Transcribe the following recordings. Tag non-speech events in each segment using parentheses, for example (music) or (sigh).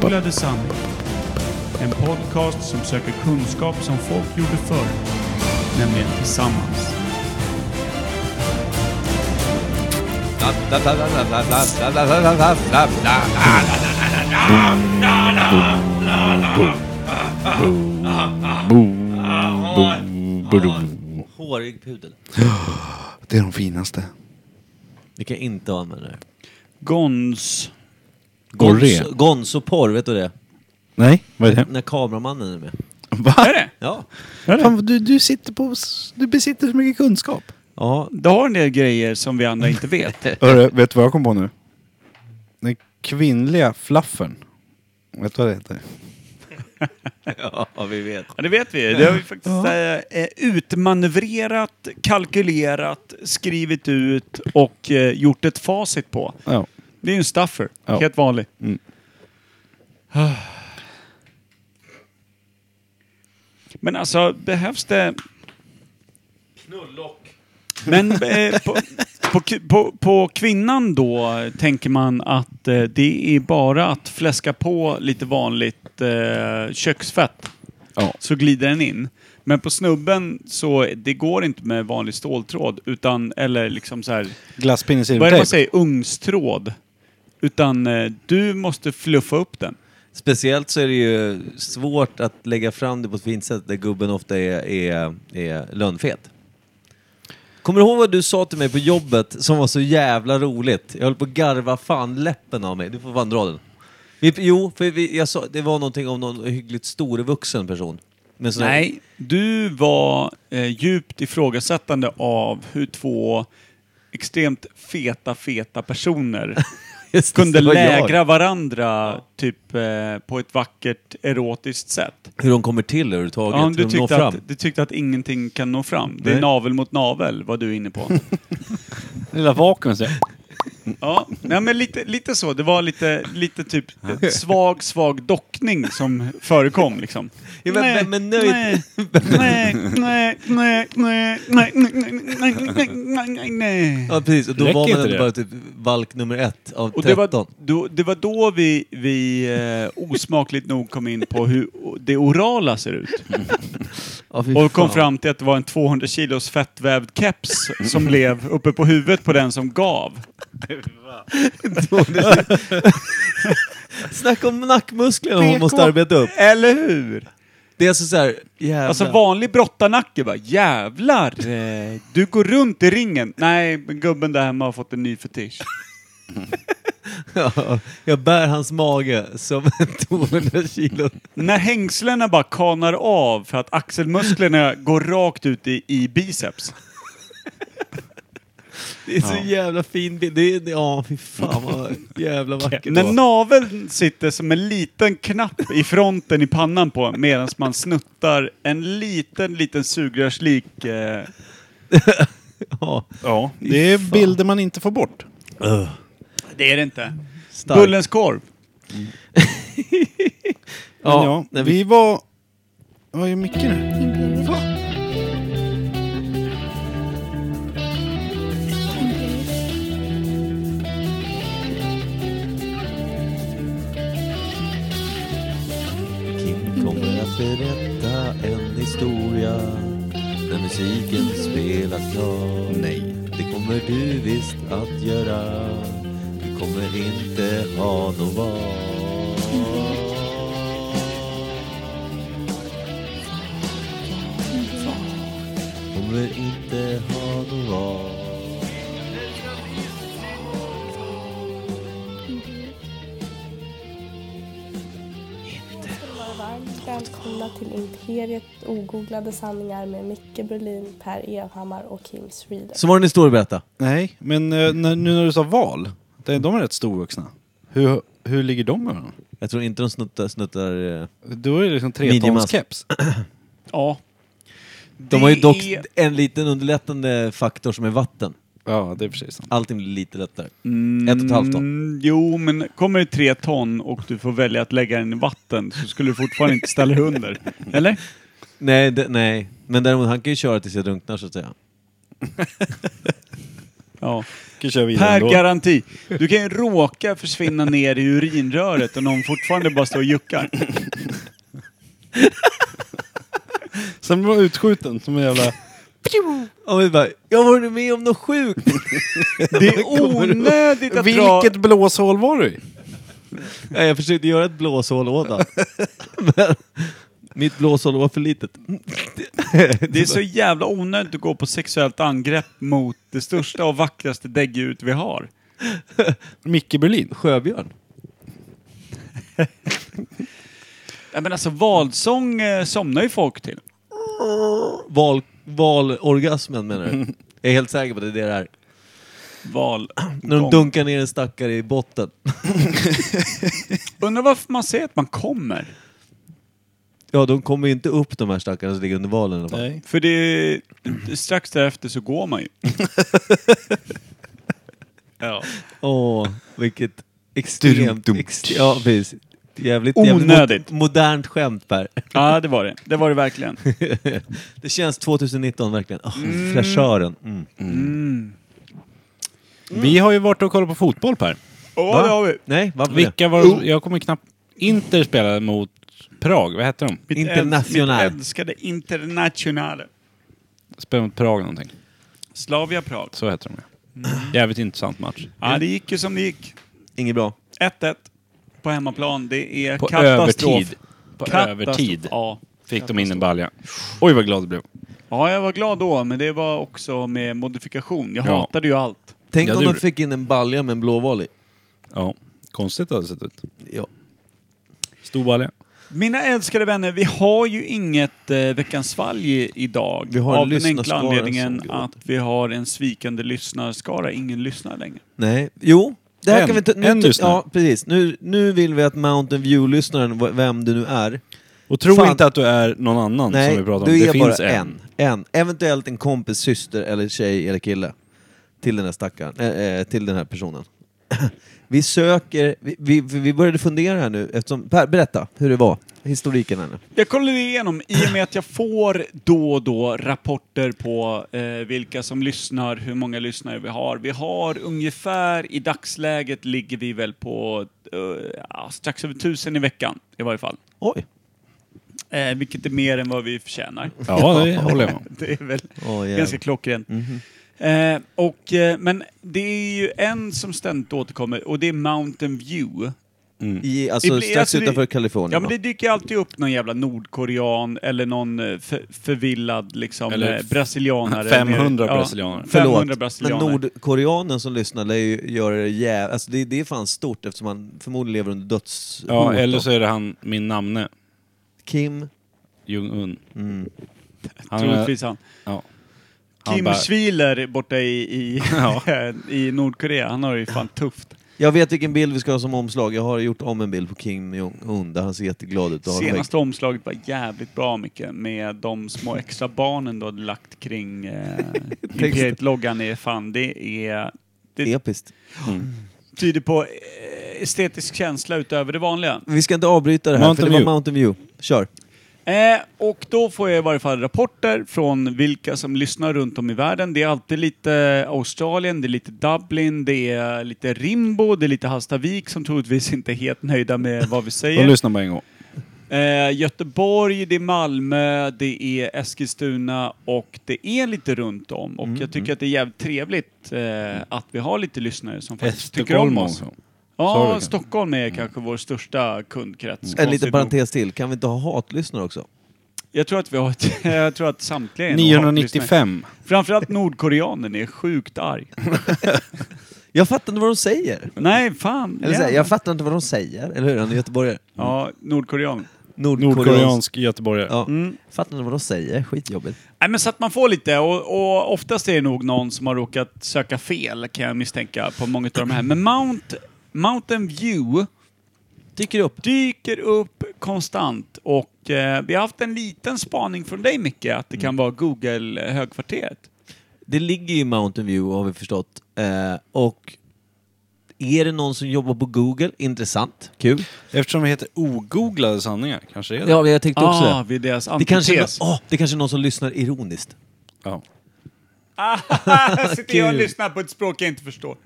Googlade sanning. En podcast som söker kunskap som folk gjorde förr. Nämligen tillsammans. Hårig pudel. Det är de finaste. Vilka jag inte använder. Gons. Gorré. Gonzo- Gonzoporr, vet du det? Nej, vad är det? När kameramannen är med. Va? Är det? Ja. Är det? Fan, vad du, du, sitter på, s- du besitter så mycket kunskap. Ja, Du har en del grejer som vi andra inte vet. Hörru, vet du vad jag kom på nu? Den kvinnliga flaffen. Vet du vad det heter? ja vi vet. (laughs) Ja, det vet vi. Det har vi faktiskt eh, utmanövrerat, kalkylerat, skrivit ut och eh, gjort ett facit på. Ja. Det är ju en stuffer. Ja. Helt vanlig. Mm. Men alltså, behövs det... Knullock. Men eh, på, på, ki- på, på kvinnan då eh, tänker man att eh, det är bara att fläska på lite vanligt eh, köksfett Ja. så glider den in. Men på snubben så det går inte med vanlig ståltråd utan, eller liksom så här, Glasspinne vad är det man silvertejp. säger, ugnstråd. Utan eh, du måste fluffa upp den. Speciellt så är det ju svårt att lägga fram det på ett fint sätt där gubben ofta är, är, är lönnfet. Kommer du ihåg vad du sa till mig på jobbet som var så jävla roligt? Jag höll på att garva fan läppen av mig. Du får fan dra den. Vi, jo, för vi, jag sa, det var någonting om någon hyggligt storvuxen person. Men sån här- Nej, du var eh, djupt ifrågasättande av hur två extremt feta, feta personer (laughs) Just det, kunde det var jag. lägra varandra typ eh, på ett vackert erotiskt sätt. Hur de kommer till överhuvudtaget. Ja, hur du, de når tyckte fram. att, du tyckte att ingenting kan nå fram. Det är Nej. navel mot navel, vad du är inne på. Lilla vakuum. så här. ja, nej, men lite, lite så. Det var lite, lite typ svag, svag dockning som förekom liksom. Ja, men- Nej, men- men nöjd- nej, nej, (laughs) nej, nej, nej, nej, nej, nej, nej, nej, nej, nej. Ja, precis. Och då Räcker var man inte ändå det? bara typ valk nummer ett av Och det, 13. var, då, det var då vi, vi eh, osmakligt nog kom in på hur det orala ser ut. Ja, (laughs) fy Och kom fan. fram till att det var en 200 kilos fettvävd keps (laughs) som blev uppe på huvudet på den som gav. Snacka om nackmusklerna PK. hon måste arbeta upp. Eller hur? Det är alltså såhär, jävlar. Alltså vanlig brottarnacke bara, jävlar! eh, Du går runt i ringen. Nej, men gubben där hemma har fått en ny fetisch. (laughs) Ja, jag bär hans mage som en (laughs) 200 kilo. När hängslena bara kanar av för att axelmusklerna går rakt ut i, i biceps. Det är så jävla fin bild. Det är, ja, fy fan vad jävla vackert det När var. naveln sitter som en liten knapp i fronten i pannan på medan man snuttar en liten, liten sugrörslik. Eh, (laughs) ja, Ja, det är bilder man inte får bort. det är det inte. stark. Bullens korv. Men Ja, ja, när vi- vi var... Vad är Micke nu? Kim kommer att berätta en historia när musiken spelas klar. Nej. Det kommer du visst att göra. Du kommer inte ha något val. Kommer inte ha något val. Varmt välkomna till Imperiet ogooglade sanningar med Micke Berlin, Per Evhammar och Kim Sweden. Så var det en historia berätta. Nej, men eh, när, nu när du sa val. det- De är rätt storvuxna. Hur, hur ligger de med varandra? Jag tror inte de snuttar... snuttar eh. Då är det liksom Minimask. tretonskeps. Ja. De har ju dock Det är- en liten underlättande faktor som är vatten. Ja, det är precis sant. Allting blir lite lättare. Ett och ett halvt ton. Mm, jo, men kommer det tre ton och du får välja att lägga den i vatten så skulle du fortfarande inte ställa dig under. Eller? Nej, det, nej. Men däremot, han kan ju köra tills jag drunknar så att säga. Ja. Kan köra vidare Per ändå. garanti. Du kan ju råka försvinna ner i urinröret och någon fortfarande bara står och juckar. Sen blir man utskjuten som (laughs) en jävla... Och vi bara, jag var med om något (laughs) sjukt. Det är onödigt att dra... Vilket blåshål var du i? Ja, jag försökte göra ett blåshål åt honom. (laughs) Men mitt blåshål var för litet. Det är så jävla onödigt att gå på sexuellt angrepp mot det största och vackraste däggdjuret vi har. Micke Berlin. Sjöbjörn. Ja, men alltså valsång eh, somnar ju folk till. Val, valorgasmen menar du? (laughs) Jag är helt säker på att det är det där. Val. När de dunkar ner en stackare i botten. Undrar varför man säger att man kommer? Ja, de kommer ju inte upp de här stackarna som ligger under valen i alla fall. Nej. För det är, strax därefter så går (laughs) man ju. ja. Åh, vilket extremt... Dum-dum. Ext, ja, precis. Jävligt, jävligt Onödigt. mo- modernt skämt Per. ja, det var det. Det var det (laughs) verkligen. Det känns 2019 verkligen. Åh, Fräschören. Mm. Vi har ju varit och kollat på fotboll Per. Åh, Va? det har vi. Nej, vad var det? Vilka var det? Jag kommer knappt... Inter spelade mot Prag. Vad hette de? Mitt International. Äls, mitt älskade Internationale. Spelade mot Prag någonting. Slavia Prag. Så hette de ja. Jävligt intressant match. Ja, det gick ju som det gick. Inget bra. 1-1 på hemmaplan. Det är På katastrof. övertid. På Katastrof. övertid Ja. fick de in en balja. Oj vad glad du blev. ja, jag var glad då, men det var också med modifikation. Jag Ja. hatade ju allt. Tänk Ja, om det de gjorde- fick in en balja med en blåval i. Ja. Konstigt hade det sett ut. Ja. Stor balja. Mina älskade vänner, vi har ju inget eh, Veckans svalg i- idag. Vi har en av den enkla lyssnarskara anledningen som gråter. att vi har en svikande lyssnarskara. Ingen lyssnar längre. Nej, jo. Det här En. kan vi ta, nu, En ta- lyssnare. Ja, precis. Nu, nu vill vi att Mountain View-lyssnaren, v- vem du nu är, Och tro Fan. inte att du är någon annan nej, som vi pratar om. du är det bara finns en. en. Eventuellt en kompis, syster eller tjej eller kille till den här stackaren, eh, eh, till den här personen. (clears throat) Vi söker, vi, vi, vi började fundera här nu eftersom, per, berätta hur det var, historiken här nu. Jag kollade igenom i och med att jag får då och då rapporter på eh, vilka som lyssnar, hur många lyssnare vi har. Vi har ungefär, i dagsläget ligger vi väl på eh, ja, strax över tusen i veckan i varje fall. Oj. Eh, vilket är mer än vad vi förtjänar. (laughs) (laughs) Ja, det håller jag med om. Det är väl Åh, jävlar. ganska klockrent. Eh, och, eh, men det är ju en som ständigt återkommer och det är Mountain View. I, alltså Ibland- strax alltså, det- utanför Kalifornien. Ja men va? det dyker ju alltid upp någon jävla nordkorean eller någon eh, för, förvillad liksom Eller eh, f- brasilianare. 500 Ja, brasilianer. 500 men brasilianer. nordkoreanen som lyssnar lär ju göra det jävligt... Alltså det, det är fan stort eftersom han förmodligen lever under dödshot. Ja, eller då. så är det han, min namne, Kim... Jung-Un. Han, eh, Troligtvis han. ja. Han Kim bara- Schwiler borta i, (laughs) i, (laughs) i Nordkorea, han har det ju fan tufft. Jag vet vilken bild vi ska ha som omslag. Jag har gjort om en bild på Kim Jong-Un där han ser jätteglad ut. och har en Senaste omslaget var jävligt bra Micke, med de små extra barnen du hade lagt kring eh, Imperiet-loggan. är Fan, det är... vägg. Det Episkt. tyder på eh, estetisk känsla utöver det vanliga. Vi ska inte avbryta det här, för Mountain det var View. Mountain View. Kör. Eh, och då får jag i varje fall rapporter från vilka som lyssnar runt om i världen. Det är alltid lite Australien, det är lite Dublin, det är lite Rimbo, det är lite Hallstavik som troligtvis inte är helt nöjda med vad vi De säger. lyssnar bara en gång. Eh, Göteborg, det är Malmö, det är Eskilstuna och det är lite runt om. Mm, Och jag tycker att det är jävligt trevligt eh, att vi har lite lyssnare som faktiskt tycker om Stockholm oss. också. Sa du Ja, det? Stockholm är kanske vår största kundkrets. Mm. En liten konstigt nog. parentes till. Kan vi inte ha hatlyssnare också? Jag tror att vi har ett, (laughs) jag tror att samtliga är nog hatlyssnare. 995. Framförallt nordkoreanen är sjukt (laughs) arg. Jag fattar inte vad de säger. Nej, fan. Eller så här, jävlar. jag fattar inte vad de säger. Eller hur? Han är göteborgare. Ja, nordkorean. Nordkoreansk. Nordkoreansk göteborgare. Ja. Mm. Fattar inte vad de säger. Skitjobbigt. Nej, men så att man får lite. Och, och oftast är det nog någon som har råkat söka fel, kan jag misstänka, på många av de här. Men Mount, Mountain View Dyker upp. dyker upp konstant. Och eh, vi har haft en liten spaning från dig, Micke, att det Mm. kan vara eh, Google-högkvarteret. Det ligger ju i Mountain View har vi förstått. Eh, och är det någon som jobbar på Google? Intressant. Kul. Eftersom det heter ogooglade sanningar, kanske det är det? Ja, jag tänkte också ah, det. vid deras Det kanske, antites. åh, det kanske är någon som lyssnar ironiskt. Ja. (laughs) Ah, sitter jag och lyssnar på ett språk jag inte förstår.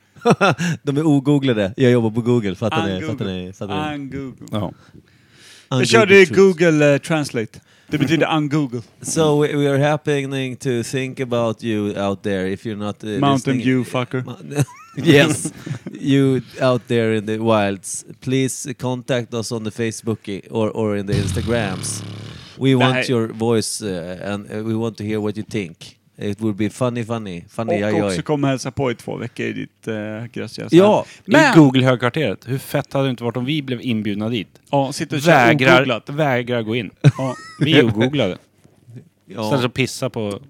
De är ogooglade. Jag jobbar på Google. Fattar ni? Fattar Un-Google. ni? Fattar ni? Un-Google. Ja. Jag körde Ungoogled truth. Google eh, Translate. Det (laughs) betyder un-Google. So we, we are happening to think about you out there if you're not... Uh, Mountain listening- Dew fucker. (laughs) yes, you out there in the wilds, please contact us on the Facebook or, or in the Instagrams. We want här- your voice uh, and uh, we want to hear what you think. It would be funny, funny, funny, Och oj, också oj. kom och hälsa på i två veckor i ditt eh, grötiga Ja, Men- I Google-högkvarteret. Hur fett hade det inte varit om vi blev inbjudna dit? Ja, sitter och kör ogooglat. Vägrar, vägrar gå in. Ja. Vi är (laughs) ogooglade. Istället för ja. att pissa på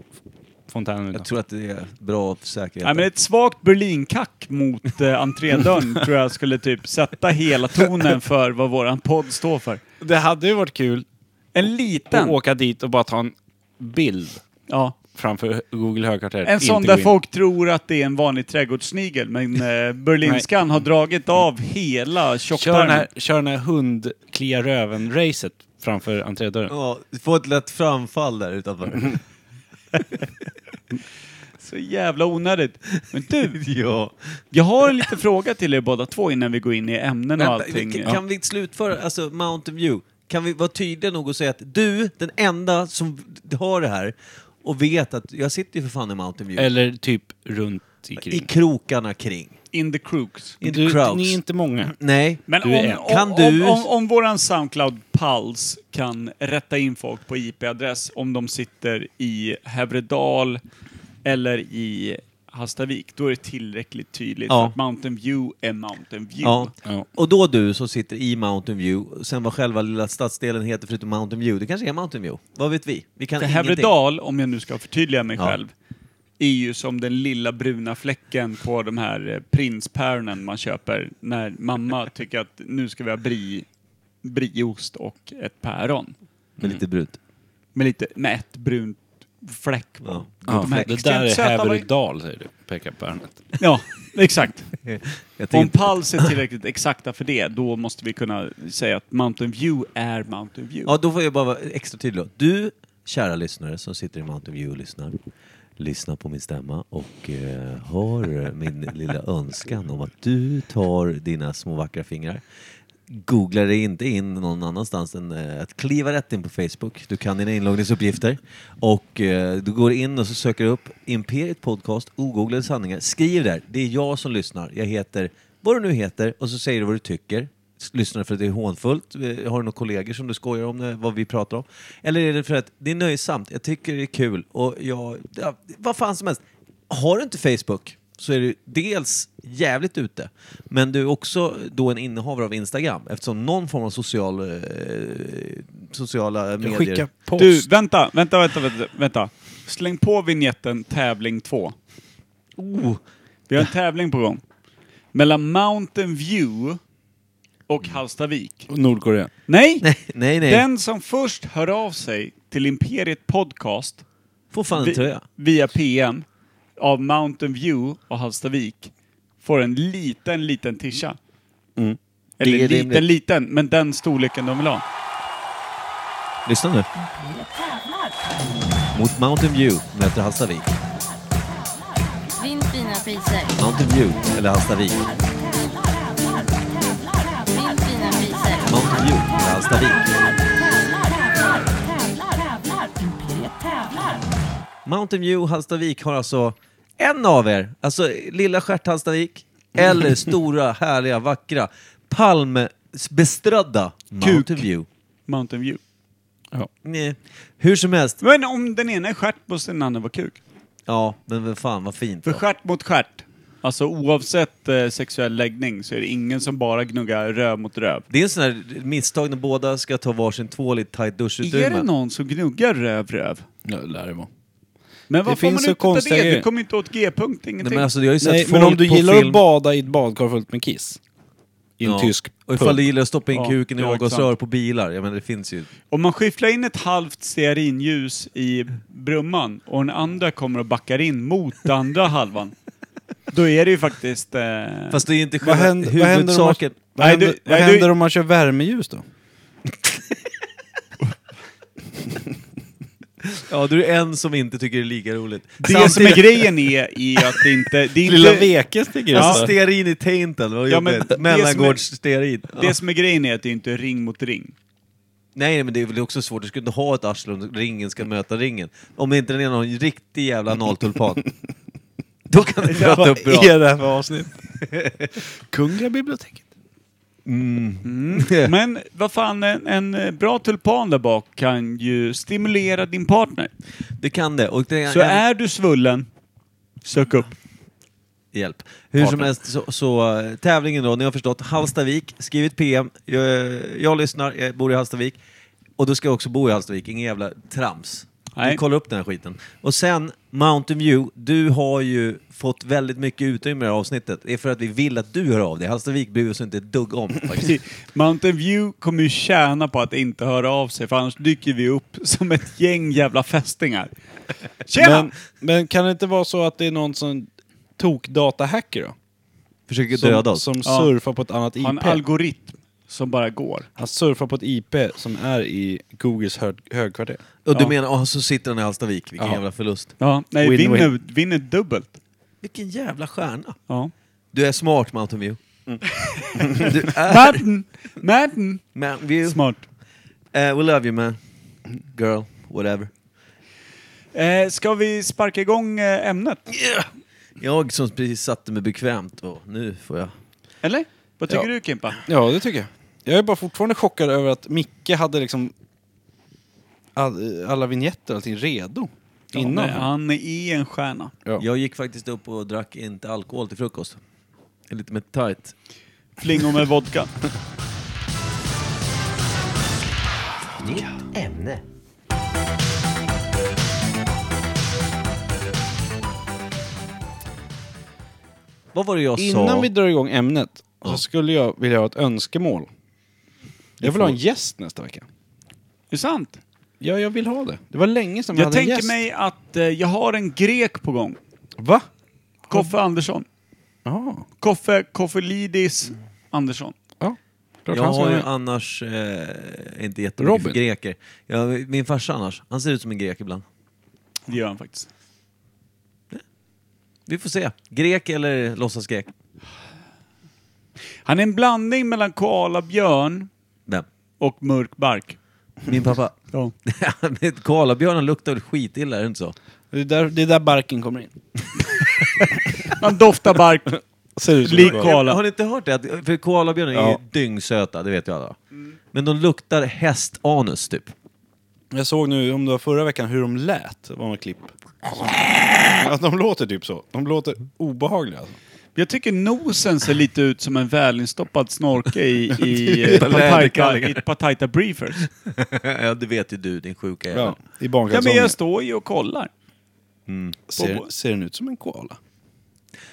fontänen. Jag tror att det är bra för säkerheten. Nej, men ett svagt Berlinkack mot eh, (laughs) entrédörren tror jag skulle typ sätta hela tonen för vad våran podd står för. Det hade ju varit kul En att liten. åka dit och bara ta en bild Ja. framför Google högkvarteret. En sån Inte gå där in. folk tror att det är en vanlig trädgårdssnigel, men eh, berlinskan har dragit av hela Kör den tjocktarmen. här, kör den här hundklia röven-racet framför entrédörren. Ja, du får ett lätt framfall (laughs) där utanför. Så jävla onödigt. Men du, (laughs) ja. jag har en liten fråga till er båda två innan vi går in i ämnen och Vänta, allting. kan, Ja. kan vi slutföra, alltså Mountain View, kan vi vara tydliga nog och säga att du, den enda som har det här och vet att jag sitter ju för fan i Mountain View. Eller typ runt i I kring. krokarna kring. In the crooks. In the Du, crowds. ni är inte många. Nej. Men Du är om, en. om, Kan om, du- om, om våran Soundcloud-pals kan rätta in folk på IP-adress om de sitter i Hävredal eller i Hallstavik, då är det tillräckligt tydligt Ja. för att Mountain View är Mountain View. Ja. Ja. Och då du som sitter i Mountain View, sen vad själva lilla stadsdelen heter förutom Mountain View, det kanske är Mountain View? Vad vet vi? Vi kan För ingenting. Hävredal, om jag nu ska förtydliga mig Ja. själv, är ju som den lilla bruna fläcken på de här eh, prinspäronen man köper när mamma tycker att nu ska vi ha brie, brieost och ett päron. Men lite brunt. Med lite, med ett brunt fläck på. Ja. Ja, men det där extremt är söta var- Häverudal, säger du. Pekar på Ernest. Ja, exakt. Jag Om tänkte, Pals är tillräckligt exakta för det, då måste vi kunna säga att Mountain View är Mountain View. ja, då får jag bara vara extra tydlig. då. Du, kära lyssnare som sitter i Mountain View och lyssnar, lyssna på min stämma och eh, hör min lilla önskan om att du tar dina små vackra fingrar Googla dig inte in någon annanstans än eh, att kliva rätt in på Facebook. Du kan dina inloggningsuppgifter. Och eh, du går in och så söker du upp Imperiet Podcast, ogooglade sanningar. Skriv där, det är jag som lyssnar. Jag heter vad du nu heter och så säger du vad du tycker. S- Lyssnar du för att det är hånfullt? Eh, Har du några kollegor som du skojar om eh, vad vi pratar om? Eller är det för att det är nöjsamt? Jag tycker det är kul och jag... Ja, vad fan som helst. Har du inte Facebook så är du dels jävligt ute, men du är också då en innehavare av Instagram eftersom någon form av social, eh, sociala medier... Skicka post. Du, vänta, vänta, vänta, vänta, vänta. Släng på vignetten tävling 2. Oh, Vi har en tävling på gång. Mellan Mountain View och Hallstavik. Nordkorea. Nej! (laughs) nej, nej, nej. Den som först hör av sig till Imperiet Podcast Får fan en vi, tröja. via PM av Mountain View och Hallstavik får en liten, liten tischa. Eller Det liten, är rimligt. liten, men den storleken de vill ha. Lyssna nu. Mot Mountain View möter Hallstavik. Vinn fina priser. Mountain View, eller Hallstavik. Vinn fina priser. Mountain View, eller Hallstavik. Mountain View, Hallstavik har alltså en av er, alltså lilla stjärt Hallstavik, eller (laughs) stora, härliga, vackra, palmbeströdda Mountain Kuk. View. Mountain View. Nej. Hur som helst, Men om den ena är stjärt måste den andra vara kuk. ja, men vad fan vad fint. För Då. stjärt mot stjärt. Alltså oavsett eh, sexuell läggning så är det ingen som bara gnuggar röv mot röv. Det är en sån här misstag när båda ska ta varsin tvål i ett tajt Är det duschutrymme. någon som gnuggar röv röv? Ja, det lär det vara. Men vad får finns man så ut av konstiga det? Du grejer. kommer inte åt g-punkt, Nej, ingenting. men alltså, jag har ju sett Nej, folk men om du på gillar film... att bada i ett badkar fullt med kiss. I en Ja. tysk Och ifall du pub. gillar att stoppa in Ja, kuken i det var avgasrör på bilar, jag menar det finns ju. Om man skyfflar in ett halvt stearinljus i brumman och den andra kommer och backar in mot den andra halvan, då är det ju faktiskt... Eh... Fast det är inte Vad själva händer, vad händer, om, man, huvudsaken. vad Nej, du- händer, vad nej, du- händer om man kör värmeljus då? Ja, du är en som inte tycker det är lika roligt. Det som är grejen är, är att det inte... Det är Lilla inte Vekes tycker jag. Alltså stearin i tainten, vad Ja, men jobbigt. det som är- Mellangårdsstearin. det som är grejen är att det inte är ring mot ring. Nej, men det är väl också svårt. Du skulle inte ha ett arsle om ringen ska möta ringen. Om inte den ena har en riktig jävla (laughs) nolltulpan. Då kan det Vad blöta upp bra. är det här för avsnitt? Kungliga biblioteket. Mm. Men vad fan, en, en eh, bra tulpan där bak kan ju stimulera din partner. Det kan det. Och det Så är du svullen, sök upp. Hjälp. Hur som helst, så, så eh, tävlingen då, ni har förstått, Hallstavik, skrivit PM, jag, jag lyssnar, jag bor i Hallstavik, och då ska jag också bo i Hallstavik, ingen jävla trams. Nej. Vi kollar upp den här skiten. Och sen, Mountain View, du har ju fått väldigt mycket utrymme i det här avsnittet. Det är för att vi vill att du hör av dig. Hallstavik bryr vi oss inte ett dugg om (laughs) faktiskt. Mountain View kommer ju tjäna på att inte höra av sig, för annars dyker vi upp som ett gäng jävla fästingar. Tjena! Men, men kan det inte vara så att det är någon som tok datahacker då? Försöker döda Som, oss. som Ja. surfar på ett annat Har en IP. algoritm som bara går. Han surfar på ett IP som är i Googles hög högkvarter. Och du Ja. menar, åh så sitter han i Hallstavik, vilken Ja. jävla förlust. Ja, nej, Win-win. vinner, vinner dubbelt. Vilken jävla stjärna. Ja. Du är smart Mountain View. (laughs) du (laughs) är Martin! Martin! Mountain View. Smart. Uh, we love you man. Girl, whatever. Eh, ska vi sparka igång eh, ämnet? Jag som precis satte mig bekvämt och nu får jag... Eller? Vad tycker Ja. du Kimpa? Ja, det tycker jag. Jag är bara fortfarande chockad över att Micke hade liksom all, alla vignetter och allting redo. innan. Nej, Han är en stjärna. Ja. Jag gick faktiskt upp och drack inte alkohol till frukost. Lite mer tight. Flingor med vodka. Vad var det jag sa? Innan vi drar igång ämnet Ja. så skulle jag vilja ha ett önskemål. Jag vill ha en gäst nästa vecka. Är det sant? Ja, jag vill ha det. Det var länge sedan vi Jag hade en tänker gäst. mig att eh, jag har en grek på gång. Va? Koffe Andersson. Jaha. Koffe, Koffelidis Andersson. Ja. Klart Jag han ska har vara ju med. annars eh, inte jättemycket Robin. för greker. Jag, min farsa annars, han ser ut som en grek ibland. Det gör han faktiskt. Vi får se. Grek eller låtsasgrek? Han är en blandning mellan koalabjörn Vem? och mörkbark. Min (laughs) pappa. Ja. Koalabjörnen luktar väl skitilla, är det inte så? det, är där, det är där barken kommer in. Han doftar bark. Ser ut Lik det. Koala. Har ni inte hört det? Att- För koalabjörnar är ju Ja. dyngsöta, det vet ju alla. Men de luktar hästanus typ. Jag såg nu, om det var förra veckan, hur de lät. Det var något klipp. Att de låter typ så. De låter obehagliga. Alltså. (laughs) Jag tycker nosen ser lite ut som en välinstoppad snorke (laughs) i, i, eh, Pataita- läderkallingar. i Pataita Briefers. (laughs) ja, det vet ju du, din sjuka jävel. Ja, I Ja, men barnkalsonger. jag står ju och kollar. ser, ser den ut som en koala?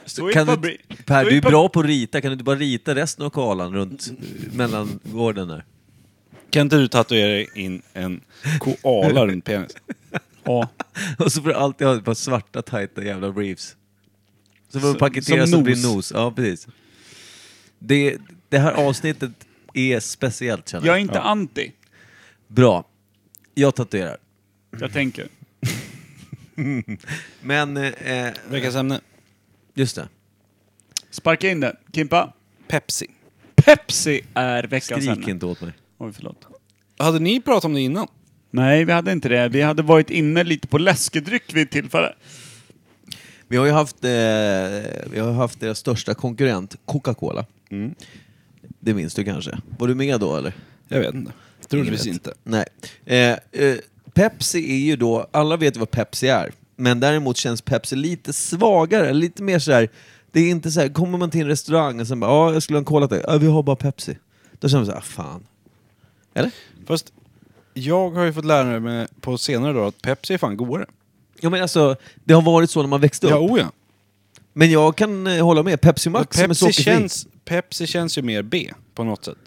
Står ju Kan på du, bri- står inte- per, ju du är på- bra på att rita. Kan du inte bara rita resten av koalan runt eh, mellangården där? (laughs) Kan inte du tatuera in en koala runt penis? Ja. Och så får du alltid ha ett par svarta tajta jävla briefs. Så får du Som- paketera som så det blir nos. nos. Ja, precis. Det, det här avsnittet är speciellt känner Jag är jag. inte anti, Bra. Jag tatuerar. jag tänker. Men, eh, eh, Veckans ämne. just det. Sparka in det. Kimpa, Pepsi. Pepsi är veckans Skrik ämne. inte åt mig. Oj, förlåt. Hade ni pratat om det innan? Nej, vi hade inte det. Vi hade varit inne lite på läskedryck vid ett tillfälle. Vi har ju haft, eh, vi har haft deras största konkurrent, Coca-Cola. Mm. Det minns du kanske? Var du med då eller? Jag vet inte. Troligtvis inte. Nej. Eh, eh, Pepsi är ju då, alla vet ju vad Pepsi är, men däremot känns Pepsi lite svagare, lite mer så här. det är inte så här, kommer man till en restaurang och sen bara ja, jag skulle ha en cola till, ja, vi har bara Pepsi. Då känner man så här, "Ah, fan. Eller? Fast jag har ju fått lära mig på senare dagar att Pepsi är fan godare. Ja men alltså, det har varit så när man växte upp. Ja, oja. Men jag kan eh, hålla med, Pepsi Max som är Pepsi sockerfri. känns, Pepsi känns ju mer B på något sätt.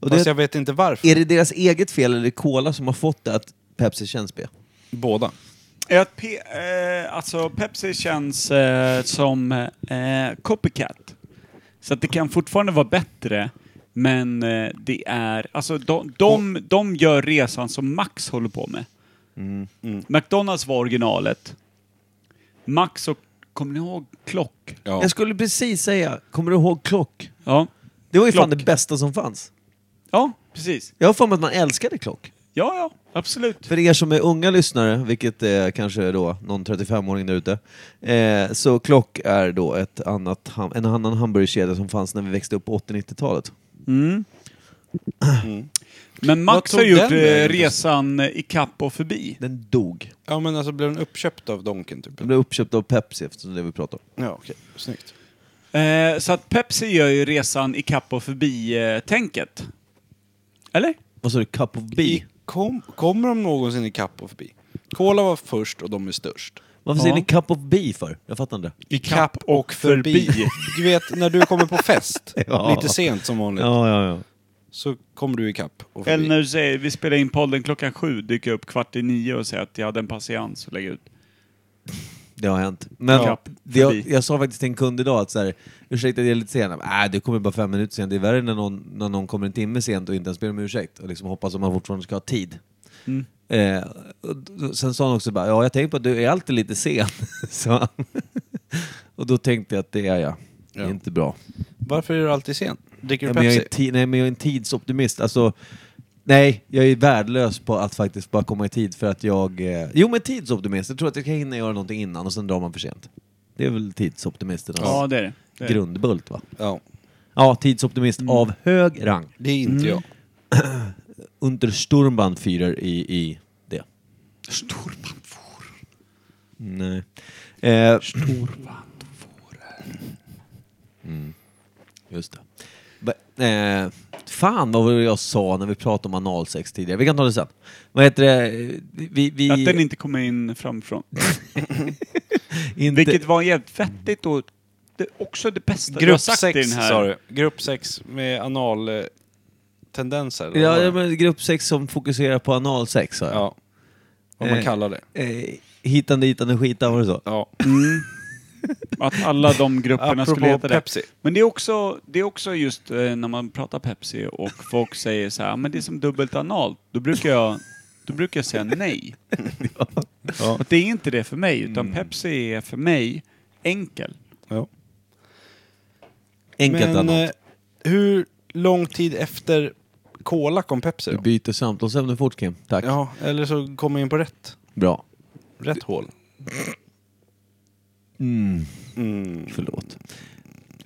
Och Fast det, jag vet inte varför. Är det deras eget fel eller är det Cola som har fått det att Pepsi känns B? Båda. Är Att P- eh, alltså Pepsi känns eh, som eh, copycat. Så att det kan fortfarande vara bättre, men eh, det är... Alltså de, de, de gör resan som Max håller på med. Mm, McDonalds var originalet. Max och... Kommer ni ihåg Klock? Ja. Jag skulle precis säga, kommer du ihåg Klock? Ja. Det var ju fan Klock. det bästa som fanns. Ja, precis. Jag har för mig att man älskade Klock. Ja, ja. Absolut. För er som är unga lyssnare, vilket är kanske då någon 35-åring där ute, eh, så Klock är då ett annat, ham- en annan hamburgerkedja som fanns när vi växte upp på 80-90-talet. Men Vad Max tog har gjort den eh, vägen? resan eh, i kapp och förbi. Den dog. ja, men alltså blev den uppköpt av Donken typ? Den blev uppköpt av Pepsi eftersom det är det vi pratar om. Ja, okej. Snyggt. Eh, så att Pepsi gör ju resan i kapp och förbi-tänket. Eller? Vad sa du? Cup of Bee? I- Kom, kommer de någonsin i kapp och förbi? Cola var först och de är störst. Varför Ja. säger ni Cup of Bee för? Jag fattar inte. I kapp och förbi. Du vet, när du kommer på fest, Ja. lite sent som vanligt, Ja, ja, ja. så kommer du i kapp och förbi. Eller när du säger eh, vi spelar in podden klockan sju, dyker jag upp kvart i nio och säger att jag hade en patiens att lägga ut. Det har hänt. Men Ja, det, jag, förbi. jag sa faktiskt till en kund idag att så här, ursäkta det är lite sen. Nej, du kommer bara fem minuter sent. Det är värre när någon, när någon kommer en timme sent och inte ens ber om ursäkt och liksom hoppas att man fortfarande ska ha tid. Eh, och då- sen sa han också bara, ja jag tänkte på att du är alltid lite sen. (laughs) sa han. och då tänkte jag att det är jag. Det är Ja. inte bra. Varför är du alltid sen? Dricker du Ja, men jag är Pepsi? en ti- nej, men jag är en tidsoptimist. Alltså, nej, jag är värdelös på att faktiskt bara komma i tid för att jag... Eh, jo, men tidsoptimist. Jag tror att jag kan hinna göra någonting innan och sen drar man för sent. Det är väl tidsoptimisternas Ja, det är det. det, Mm. är det. grundbult, va? Ja, Ja, tidsoptimist av hög rang. det är inte jag. Unter Sturmbannführer i, i det. Nej. Eh, Mm. Just det. Va- Eh, fan vad var det jag sa när vi pratade om analsex tidigare. Vi kan ta det sen. Vad heter det? Vi, vi, Att den inte kommer in (laughs) framifrån. inte- Vilket var jävligt fettigt och det, också det bästa du har Grupp sagt i 6 den här. sa du. Grupp 6 med anal eh, tendenser. eller vad Ja, var ja, det? men grupp sex som fokuserar på analsex sa jag. ja. Vad man Eh, kallar det. Eh, hitande, hitande, skitan, var det så? Ja. Mm. Att alla de grupperna skulle Apropå heta det. Pepsi. Men det är också, det är också just eh, när man pratar Pepsi och folk säger så här, men det är som dubbelt analt. Då brukar jag, då brukar jag säga (laughs) nej. Att det är inte det för mig, utan Mm. Pepsi är för mig enkel. Ja. Enkelt Men analt. eh, hur lång tid efter Cola kom Pepsi Du då? byter samtalsämne fort Kim. Tack. Ja, eller så kom jag in på rätt, Bra. rätt hål. Mm. Förlåt.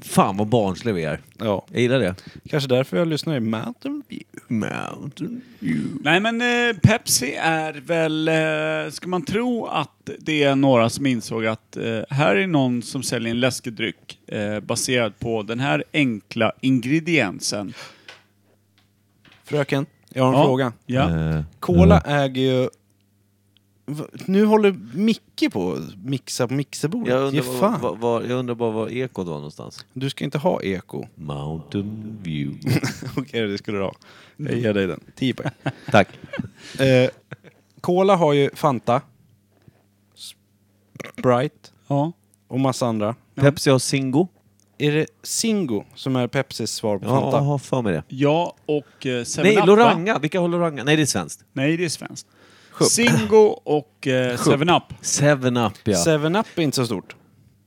Fan vad barnslig vi är. Ja, Jag gillar det. kanske därför jag lyssnar i Mountain View. Mountain View. Nej men eh, Pepsi är väl, eh, ska man tro att det är några som insåg att eh, här är någon som säljer en läskedryck eh, baserad på den här enkla ingrediensen. Fröken, jag har en Ja. fråga. Ja. Eh, Cola äger ju... V- Nu håller Micke på att mixa på mixerbordet. Jag Ge undrar, fan. var, var, var, jag undrar bara var ekot var någonstans. Du ska inte ha eko. (laughs) Mountain View. Okej, det skulle du ha. Jag ger dig den. 10 poäng. (laughs) Tack. eh, Cola har ju Fanta, Sprite ja. och massa andra. Pepsi har Singo. Är det Singo som är Pepsis svar på Ja, jag Fanta? har för mig det. Ja, och eh, Nej, 7-Up va? Loranga. Vilka har Loranga? Nej, det är svenskt. Nej, det är svenskt. Sjupp. Singo och eh, 7-Up. Seven Up ja. Seven up är inte så stort.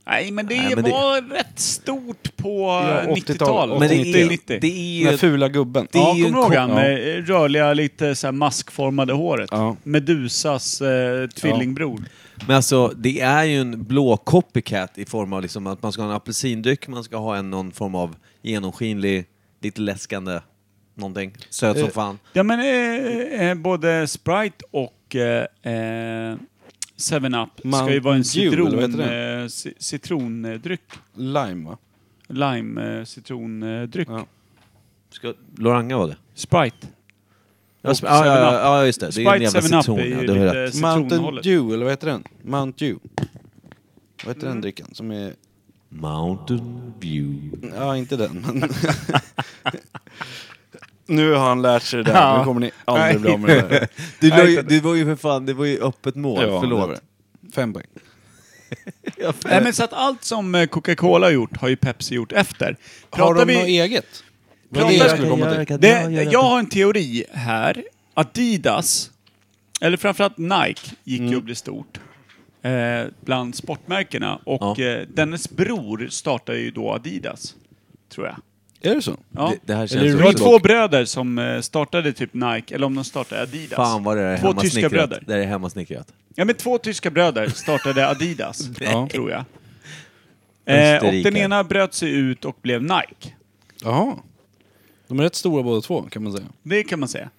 Nej, men det Nej, men det- var rätt stort på eh, Ja, 90-talet. 80-tal. Men det 80-90. är, det är Den här ju... fula gubben. Det är ja, ju kommer du en ihåg ko- han? ja. med Rörliga, lite så här maskformade håret. Ja. Medusas eh, tvillingbror. Men alltså, det är ju en blå copycat i form av liksom att man ska ha en apelsindryck, man ska ha en någon form av genomskinlig, lite läskande någonting. Söt som Eh, fan. Ja, men eh, eh, både Sprite och eh, eh, 7-Up ska ju Mountain vara en Dew, eller vad citron, heter eh, ci- citrondryck. Lime va? Lime eh, citrondryck. Ja. Ska Loranga var det? Sprite. Ja, Och sp- ja, ja, Seven Up. ja, ja, just det. Det är en Sprite jävla 7-Up citron. är Ja, ju du har lite rätt. Mountain citronhållet. Dew, eller vad heter den? Mount Dew. Vad heter den Mm. drycken? Som är... Mountain View. Ja, inte den, men... (laughs) nu har han lärt sig det där. Nu kommer ni aldrig bli av med det (laughs) där. Du, la ju, Nej, du var ju för fan, det var ju öppet mål. Ja, det var Förlåt. det. Fem poäng. Ja, Nej, Eh, men så att allt som eh, Coca-Cola har gjort har ju Pepsi gjort efter. Har de vi- något eget? Vad Pratar är det jag vi- skulle komma Jag till? kan- Det, jag gör jag har en teori här. Adidas Eller framförallt Nike gick Mm. ju och blev stort. Eh, bland sportmärkena. Och Ja. eh, dennes bror startade ju då Adidas. Tror jag. Är det så? Ja. Det, det här Eller känns Det är också... var Reebok. två bröder som eh, startade typ Nike, eller om de startade Adidas. Fan vad det är två tyska hemmasnickrat. bröder. Det är hemmasnickrat. Ja men två tyska bröder (laughs) startade Adidas, Ja. tror jag. Eh, och den Österrike. ena bröt sig ut och blev Nike. Jaha. De är rätt stora båda två kan man säga. Det kan man säga.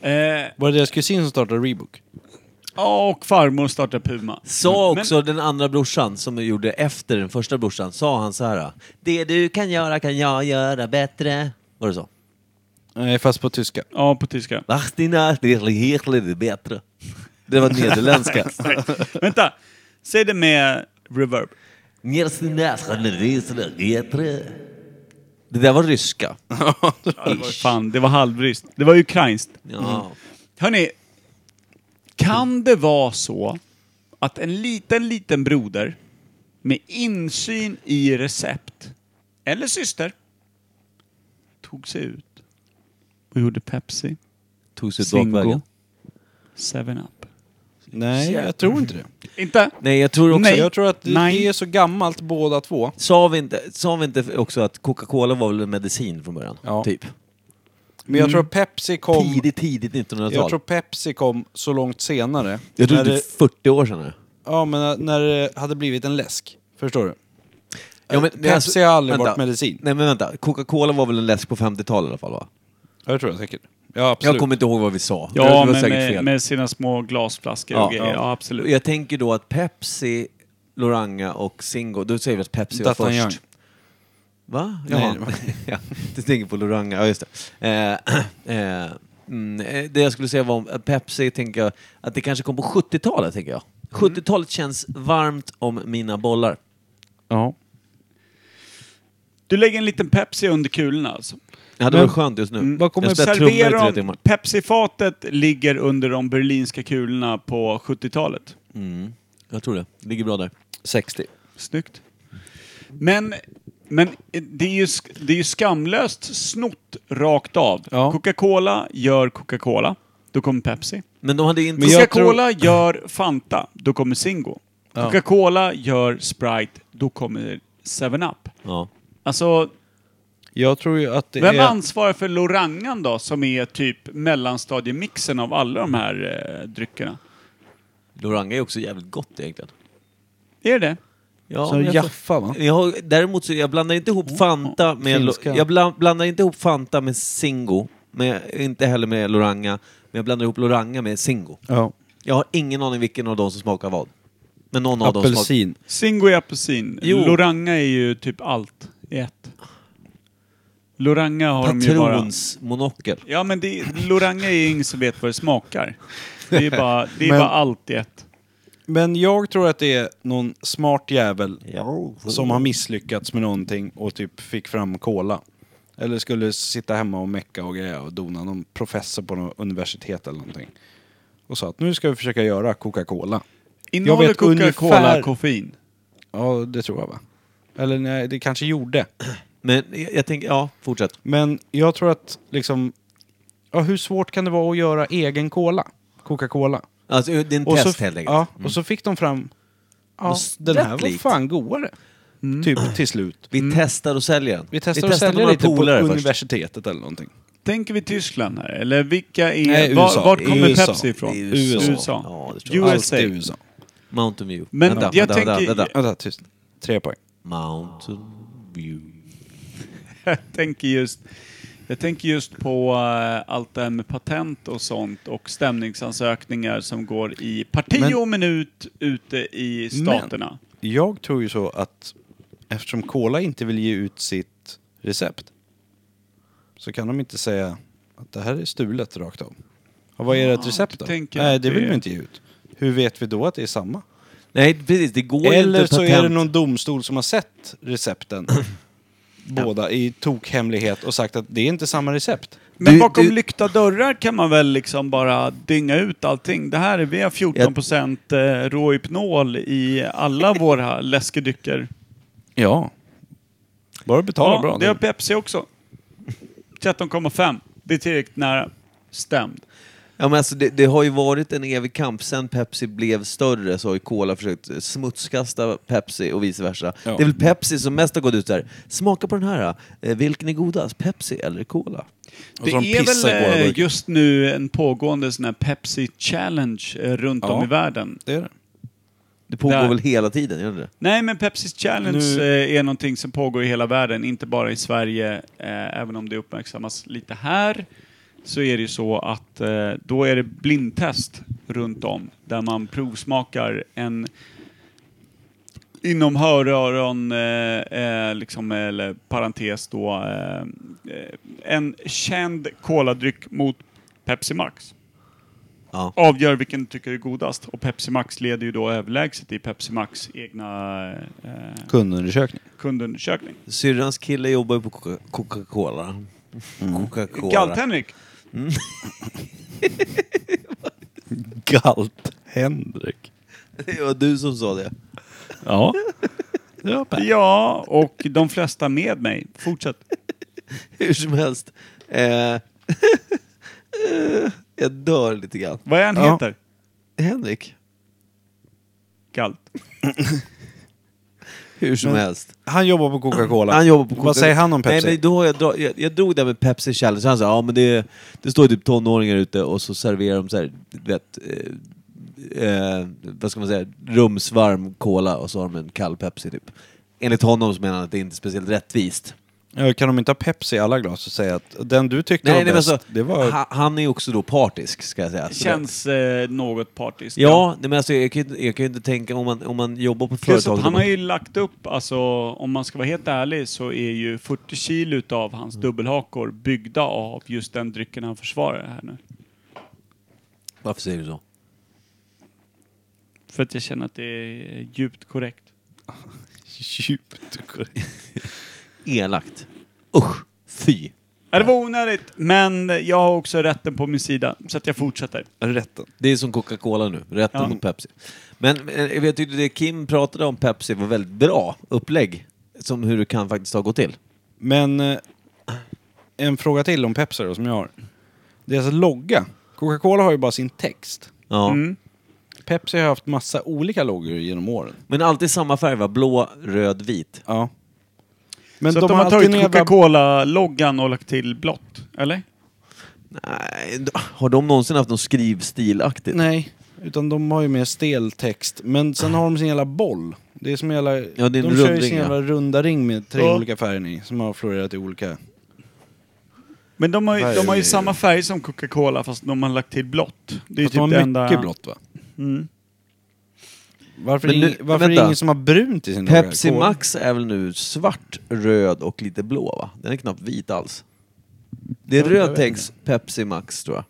Eh, Var det deras kusin som startade Reebok? ja, och farmor startade Puma. Mm, Sa Men- också den andra brorsan, som gjorde efter den första brorsan, sa han så här. Det du kan göra kan jag göra bättre. Var det så? Nej, fast på tyska. Ja, på tyska. Martina, det är helt bättre. Det var (laughs) nederländska. Vänta, säg det med reverb. Njerstina, njerstina, bättre. Det där var ryska. Ja, det var, fan, det var halvryskt. Det var ukrainskt. Ja. Hörni, kan det vara så att en liten, liten broder med insyn i recept, eller syster, tog sig ut och gjorde Pepsi, Tog sig Zingo, bakvägen. 7-Up? Nej, jag tror inte det. Inte? Nej, jag tror också... Nej. Jag tror att det Nej. är så gammalt båda två. Sa vi, inte, sa vi inte också att Coca-Cola var väl en medicin från början? Ja. Typ. Men jag tror att Pepsi kom... Tidigt, tidigt 1900-tal. Jag tror Pepsi kom så långt senare. Jag tror när det är det, 40 år sedan nu. ja, men när- när det hade blivit en läsk. Förstår du? Ja, men, alltså, Pepsi har aldrig varit medicin. Nej men vänta, Coca-Cola var väl en läsk på 50-talet i alla fall va? Ja, det tror jag säkert. Ja, absolut. Jag kommer inte ihåg vad vi sa. det Ja, var men säkert med, fel. med sina små glasflaskor och grejer. Ja, absolut. Jag tänker då att Pepsi, Loranga och Zingo, då säger vi att Pepsi var Dattan först. Young. Va? Nej, Jaha. det var- (laughs) ja, du tänker på Loranga, ja just det. Eh, (clears throat) eh, mm, eh, det jag skulle säga var om att Pepsi, tänker jag, att det kanske kom på 70-talet, tänker jag. Mm. 70-talet känns varmt om mina bollar. Ja. Du lägger en liten Pepsi under kulorna alltså? Mm. Ja, det Men- mm, var skönt just nu. Vad kommer- jag spelar trummor i Serverar tre de, timmar. Pepsi-fatet ligger under de berlinska kulorna på 70-talet. Mm. Jag tror det. Ligger bra där. 60. Snyggt. Men, men det, är ju, sk- det är ju skamlöst snott rakt av. Ja. Coca-Cola gör Coca-Cola, då kommer Pepsi. Men de hade inte... Men jag Coca-Cola gör Fanta, då kommer Zingo. Ja. Coca-Cola gör Sprite, då kommer 7-Up. Ja. Alltså, Jag tror ju att det vem är... ansvarar för Lorangan då, som är typ mellanstadiemixen av alla de här eh, dryckerna? Loranga är också jävligt gott egentligen. Är det det? Ja, Så men jag- Jaffa, va? Oh, Jag har, däremot så jag blandar inte ihop Fanta med... finska. Jag bla, blandar inte ihop Fanta med Singo. Men jag, inte heller med Loranga. Men jag blandar ihop Loranga med Singo. Ja. Jag har ingen aning vilken av dem som smakar vad. Men någon av dem smakar... Apelsin. Zingo är apelsin. Jo. Loranga är ju typ allt i ett. Loranga har de ju bara... Patronsmonokel. Ja men det, Loranga är ju ingen som vet vad det smakar. Det är bara, det är Men- bara allt i ett. Men jag tror att det är någon smart jävel Ja. som har misslyckats med någonting och typ fick fram cola. Eller skulle sitta hemma och mecka och greja och dona någon professor på något universitet eller någonting. Och sa att nu ska vi försöka göra Coca-Cola. Innehåller vet Coca-Cola ungefär- koffein? Ja, det tror jag va? Eller nej, det kanske gjorde. Men jag, jag tänker... Ja, fortsätt. Men jag tror att liksom... Ja, hur svårt kan det vara att göra egen cola? Coca-Cola. Alltså, det är en Och så, test helt enkelt. Mm. ja, och så fick de fram... Ja, Något den här rätt var likt. fan godare. Typ till slut. Vi testar och säljer den. Vi testar att sälja några lite typ på polare först. universitetet eller någonting. Tänker vi Tyskland här? Eller vilka är... Nej, var, USA. vart kommer USA. Pepsi ifrån? Det är USA. USA. Ja, det tror jag. USA. Alltid USA. Mountain View. Men vänta, jag vänta, tänker- vänta, vänta. Vänta, tyst. Tre poäng. Mountain View. Jag tänker just, jag tänker just på eh, allt det här med patent och sånt och stämningsansökningar som går i parti Men- och minut ute i staterna. Jag tror ju så att eftersom Cola inte vill ge ut sitt recept så kan de inte säga att det här är stulet rakt av. Och vad är ert recept du då? tänker Nej, att det det vill är- vi inte ge ut. Hur vet vi då att det är samma? Nej, precis. Det går ju Eller inte så patent. är det någon domstol som har sett (clears throat) recepten, båda, i tokhemlighet och sagt att det är inte samma recept. Men Du- bakom du- lyckta dörrar kan man väl liksom bara dynga ut allting. Det här är, vi har 14% jag... råhypnol i alla våra läskedrycker. Ja. Bara betala Ja, bra. det har Pepsi också. 13,5. Det är tillräckligt nära. Stämd. Ja, men alltså det, det har ju varit en evig kamp. Sen Pepsi blev större så har ju Cola försökt eh, smutskasta Pepsi och vice versa. Ja. Det är väl Pepsi som mest har gått ut där. Smaka på den här. eh, Vilken är godast? Pepsi eller Cola? Det så de är pissar i våra väl eh, burkar. just nu en pågående sån här Pepsi Challenge eh, runt Ja. om i världen. Det är det. Det pågår Där. väl hela tiden, gör det det? Nej, men Pepsi Challenge Nu- eh, är någonting som pågår i hela världen, inte bara i Sverige. Eh, även om det uppmärksammas lite här, så är det ju så att eh, då är det blindtest runt om, där man provsmakar en inom hör, öron, eh, eh, liksom, eller parentes då, eh, eh, en känd koladryck mot Pepsi Max Ja. avgör vilken du tycker är godast. Och Pepsi Max leder ju då överlägset i Pepsi Max egna eh, Kundundersökning. kundundersökning. Syrrans kille jobbar ju på Coca- Coca-Cola. Mm. Coca-Cola. Galt-Henrik! Galt Henrik. (laughs) Det var du som sa det. (laughs) Ja. ja Per. Ja, och de flesta med mig. Fortsätt. Hur som helst. Eh, (laughs) eh, jag dör lite grann. Vad är han Ja. heter? Henrik, Galt. hur som Men- helst. Han jobbar på Coca-Cola. Han jobbar på Coca- Vad säger han om Pepsi? Nej, men då har jag, dra- jag, jag drog det här med Pepsi Challenge, han sa ja men det, det står typ tonåringar ute och så serverar de så här, du vet, eh, eh, vad ska man säga, rumsvarm cola och så har de en kall Pepsi typ. Enligt honom så menar han att det inte är speciellt rättvist. Ja, Eh, kan de inte ha Pepsi i alla glas och säga att den du tyckte Nej, var nej, men bäst, alltså, det var... ha, han är ju också då partisk ska jag säga. Så det, Känns eh, något partiskt. ja, nej, men alltså, jag, kan, ju inte- jag kan ju inte tänka om man, om man jobbar på ett Plus företag... att han då- har ju lagt upp, alltså om man ska vara helt ärlig så är ju 40 kilo utav hans Mm. dubbelhakor byggda av just den drycken han försvarar här nu. Varför säger du så? För att jag känner att det är djupt korrekt. Djupt Elakt. Usch, fy. Ja, det var onödigt, men jag har också rätten på min sida, så att jag fortsätter. Rätten. Det är som Coca-Cola nu, rätten Ja. mot Pepsi. Men eh, jag tyckte det Kim pratade om Pepsi var väldigt bra upplägg, som hur det kan faktiskt ha gått till. Men eh, en fråga till om Pepsi då, som jag har. Deras logga. Coca-Cola har ju bara sin text. Ja. Mm. Mm. Pepsi har haft massa olika loggor genom åren. Men alltid samma färg va? Blå, röd, vit. Ja. Men så att de har tagit Coca-Cola-loggan och lagt till blått, eller? Nej, d- har de någonsin haft något skrivstilaktigt? Nej, utan de har ju mer stel text. Men sen har de sin jävla boll. Det är som en jävla... Ja, det är en de kör ju rundring, sin ja. jävla runda ring med tre Ja. olika färger i, som har florerat i olika... Men de har, ju, de har ju Färg. samma färg som Coca-Cola, fast de har lagt till blått. Det är ju Fast de har typ det mycket enda... blått va? Mm. Varför, Men ing- nu- varför är det vänta. ingen som har brunt i sin logga? Pepsi Cola? Max är väl nu svart, röd och lite blå va? Den är knappt vit alls. Det är Ja, jag röd vet text, Pepsi Max tror jag.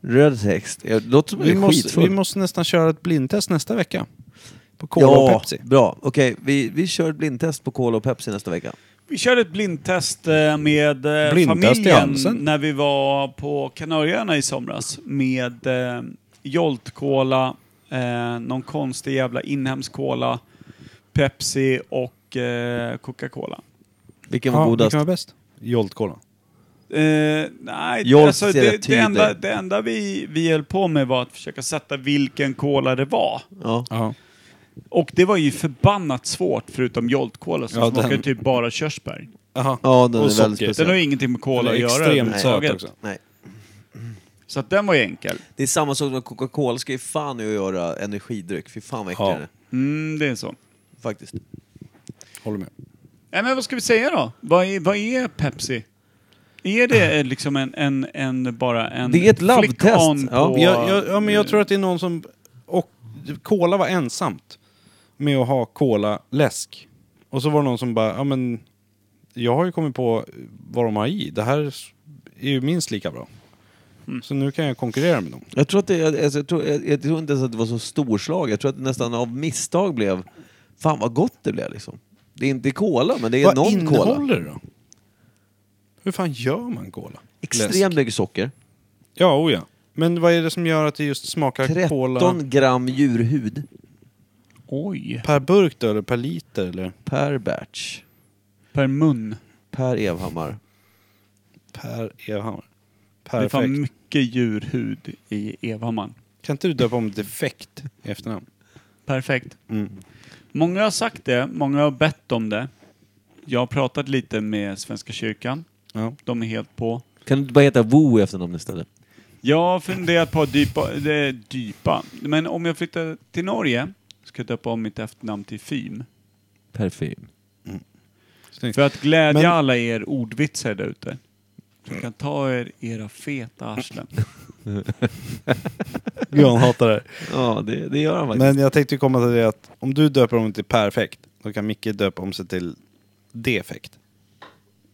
Röd text. Ja, Det låter som Vi en måste, skitfull. vi måste nästan köra ett blindtest nästa vecka. På Cola och Pepsi. bra. Okej, vi, vi kör ett blindtest på Cola och Pepsi nästa vecka. Vi körde ett blindtest eh, med eh, Blindtest i familjen halsen. när vi var på Kanarieöarna i somras med eh, Jolt Cola, eh, någon konstig jävla inhemsk Cola, Pepsi och eh, Coca-Cola. Vilken var godast? Vilken var bäst? Jolt Cola. Eh, nej, Jolt alltså, ser det, rätt det tydlig. enda, det enda vi, vi höll på med var att försöka sätta vilken cola det var. Ja. Ja. Och det var ju förbannat svårt, förutom Jolt Cola som Ja, smakar den- typ bara körsbär. Aha. ja, den Och är väldigt socker. Den speciell. har ju ingenting med cola Den att är göra extremt överhuvudtaget. söt också. Nej. Så att den var ju enkel. Det är samma sak med Coca-Cola, ska ju fan i att göra energidryck. Fy fan vad äckligt det Ja. är. Mm, det är så. Faktiskt. Håller med. Nej, men vad ska vi säga då? Vad är, vad är Pepsi? Är det eh, liksom en, en, en bara en... Det är ett labbtest. flick-on Ja. på- Jag, jag, ja, men jag tror att det är någon som... Och, cola var ensamt med att ha cola läsk. Och så var det någon som bara, ja men... Jag har ju kommit på vad de har i. Det här är ju minst lika bra. Mm. Så nu kan jag konkurrera med dem. Jag tror, att det, jag, alltså, jag, tror, jag, jag tror inte ens att det var så storslag. Jag tror att det nästan av misstag blev... Fan vad gott det blev liksom. Det är inte Cola, men det är vad någon Cola. innehåller det då? Hur fan gör man cola? Läsk. Extremt mycket socker. Ja, oh ja. Men vad är det som gör att det just smakar 13 cola gram djurhud Oj. per burk då, eller per liter? Eller? per batch. Per mun. Per Evhammar. Per Evhammar. Det är fan Perfekt. mycket djurhud i Evhammar. Kan inte du döpa om defekt i efternamn? Perfekt. Mm. Många har sagt det, många har bett om det. Jag har pratat lite med Svenska kyrkan. Ja. De är helt på. Kan du inte bara heta Wo i efternamn istället? Jag har funderat på att dypa, det, dypa. Men om jag flyttar till Norge ska jag döpa om mitt efternamn till Fym. Parfym. Snyggt. För att glädja Men- alla er ordvitsar där ute. Så kan ta er era feta arslen. Björn hatar det. Ja, det, det gör han faktiskt. Men jag tänkte komma till det att om du döper om till perfekt, då kan Micke döpa om sig till defekt.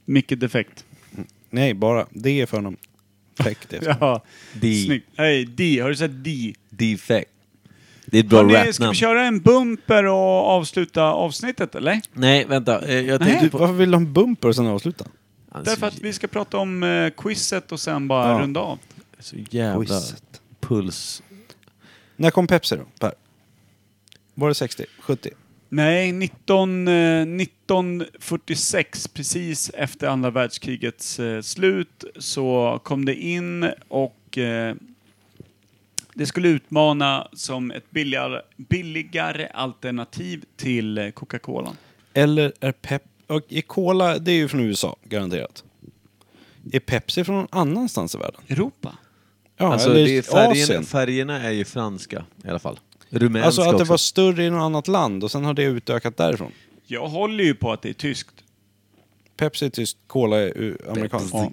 Mycket defekt. Nej, bara det är för honom. Fekt är (laughs) för Ja, D. snyggt. Nej, D. Har du sett D? Defect. Det är ett bra Hörrni, ska rapnamn. vi köra en bumper och avsluta avsnittet eller? Nej, vänta. eh, Jag Nej. tänkte du, på... Alltså, varför vill de ha en bumper och sen avsluta? Han är så Därför att vi ska prata om eh, quizet och sen bara Ja. runda av. Så jävla Quizet. puls. När kom Pepsi då, Per? Var det 60? 70? Nej, 19, eh, 1946, precis efter andra världskrigets eh, slut, så kom det in och eh, det skulle utmana som ett billigare, billigare alternativ till eh, Coca-Cola. Eller är Pep... Och är Cola, det är ju från USA, garanterat. Är Pepsi från någon annanstans i världen? Europa? Ja, Alltså, eller det är Asien. färgerna, färgerna är ju franska i alla fall. Rumänska Alltså att det också. var större i något annat land och sen har det utökat därifrån. Jag håller ju på att det är tyskt. Pepsi är tyskt, Cola är u- amerikanskt. Ja.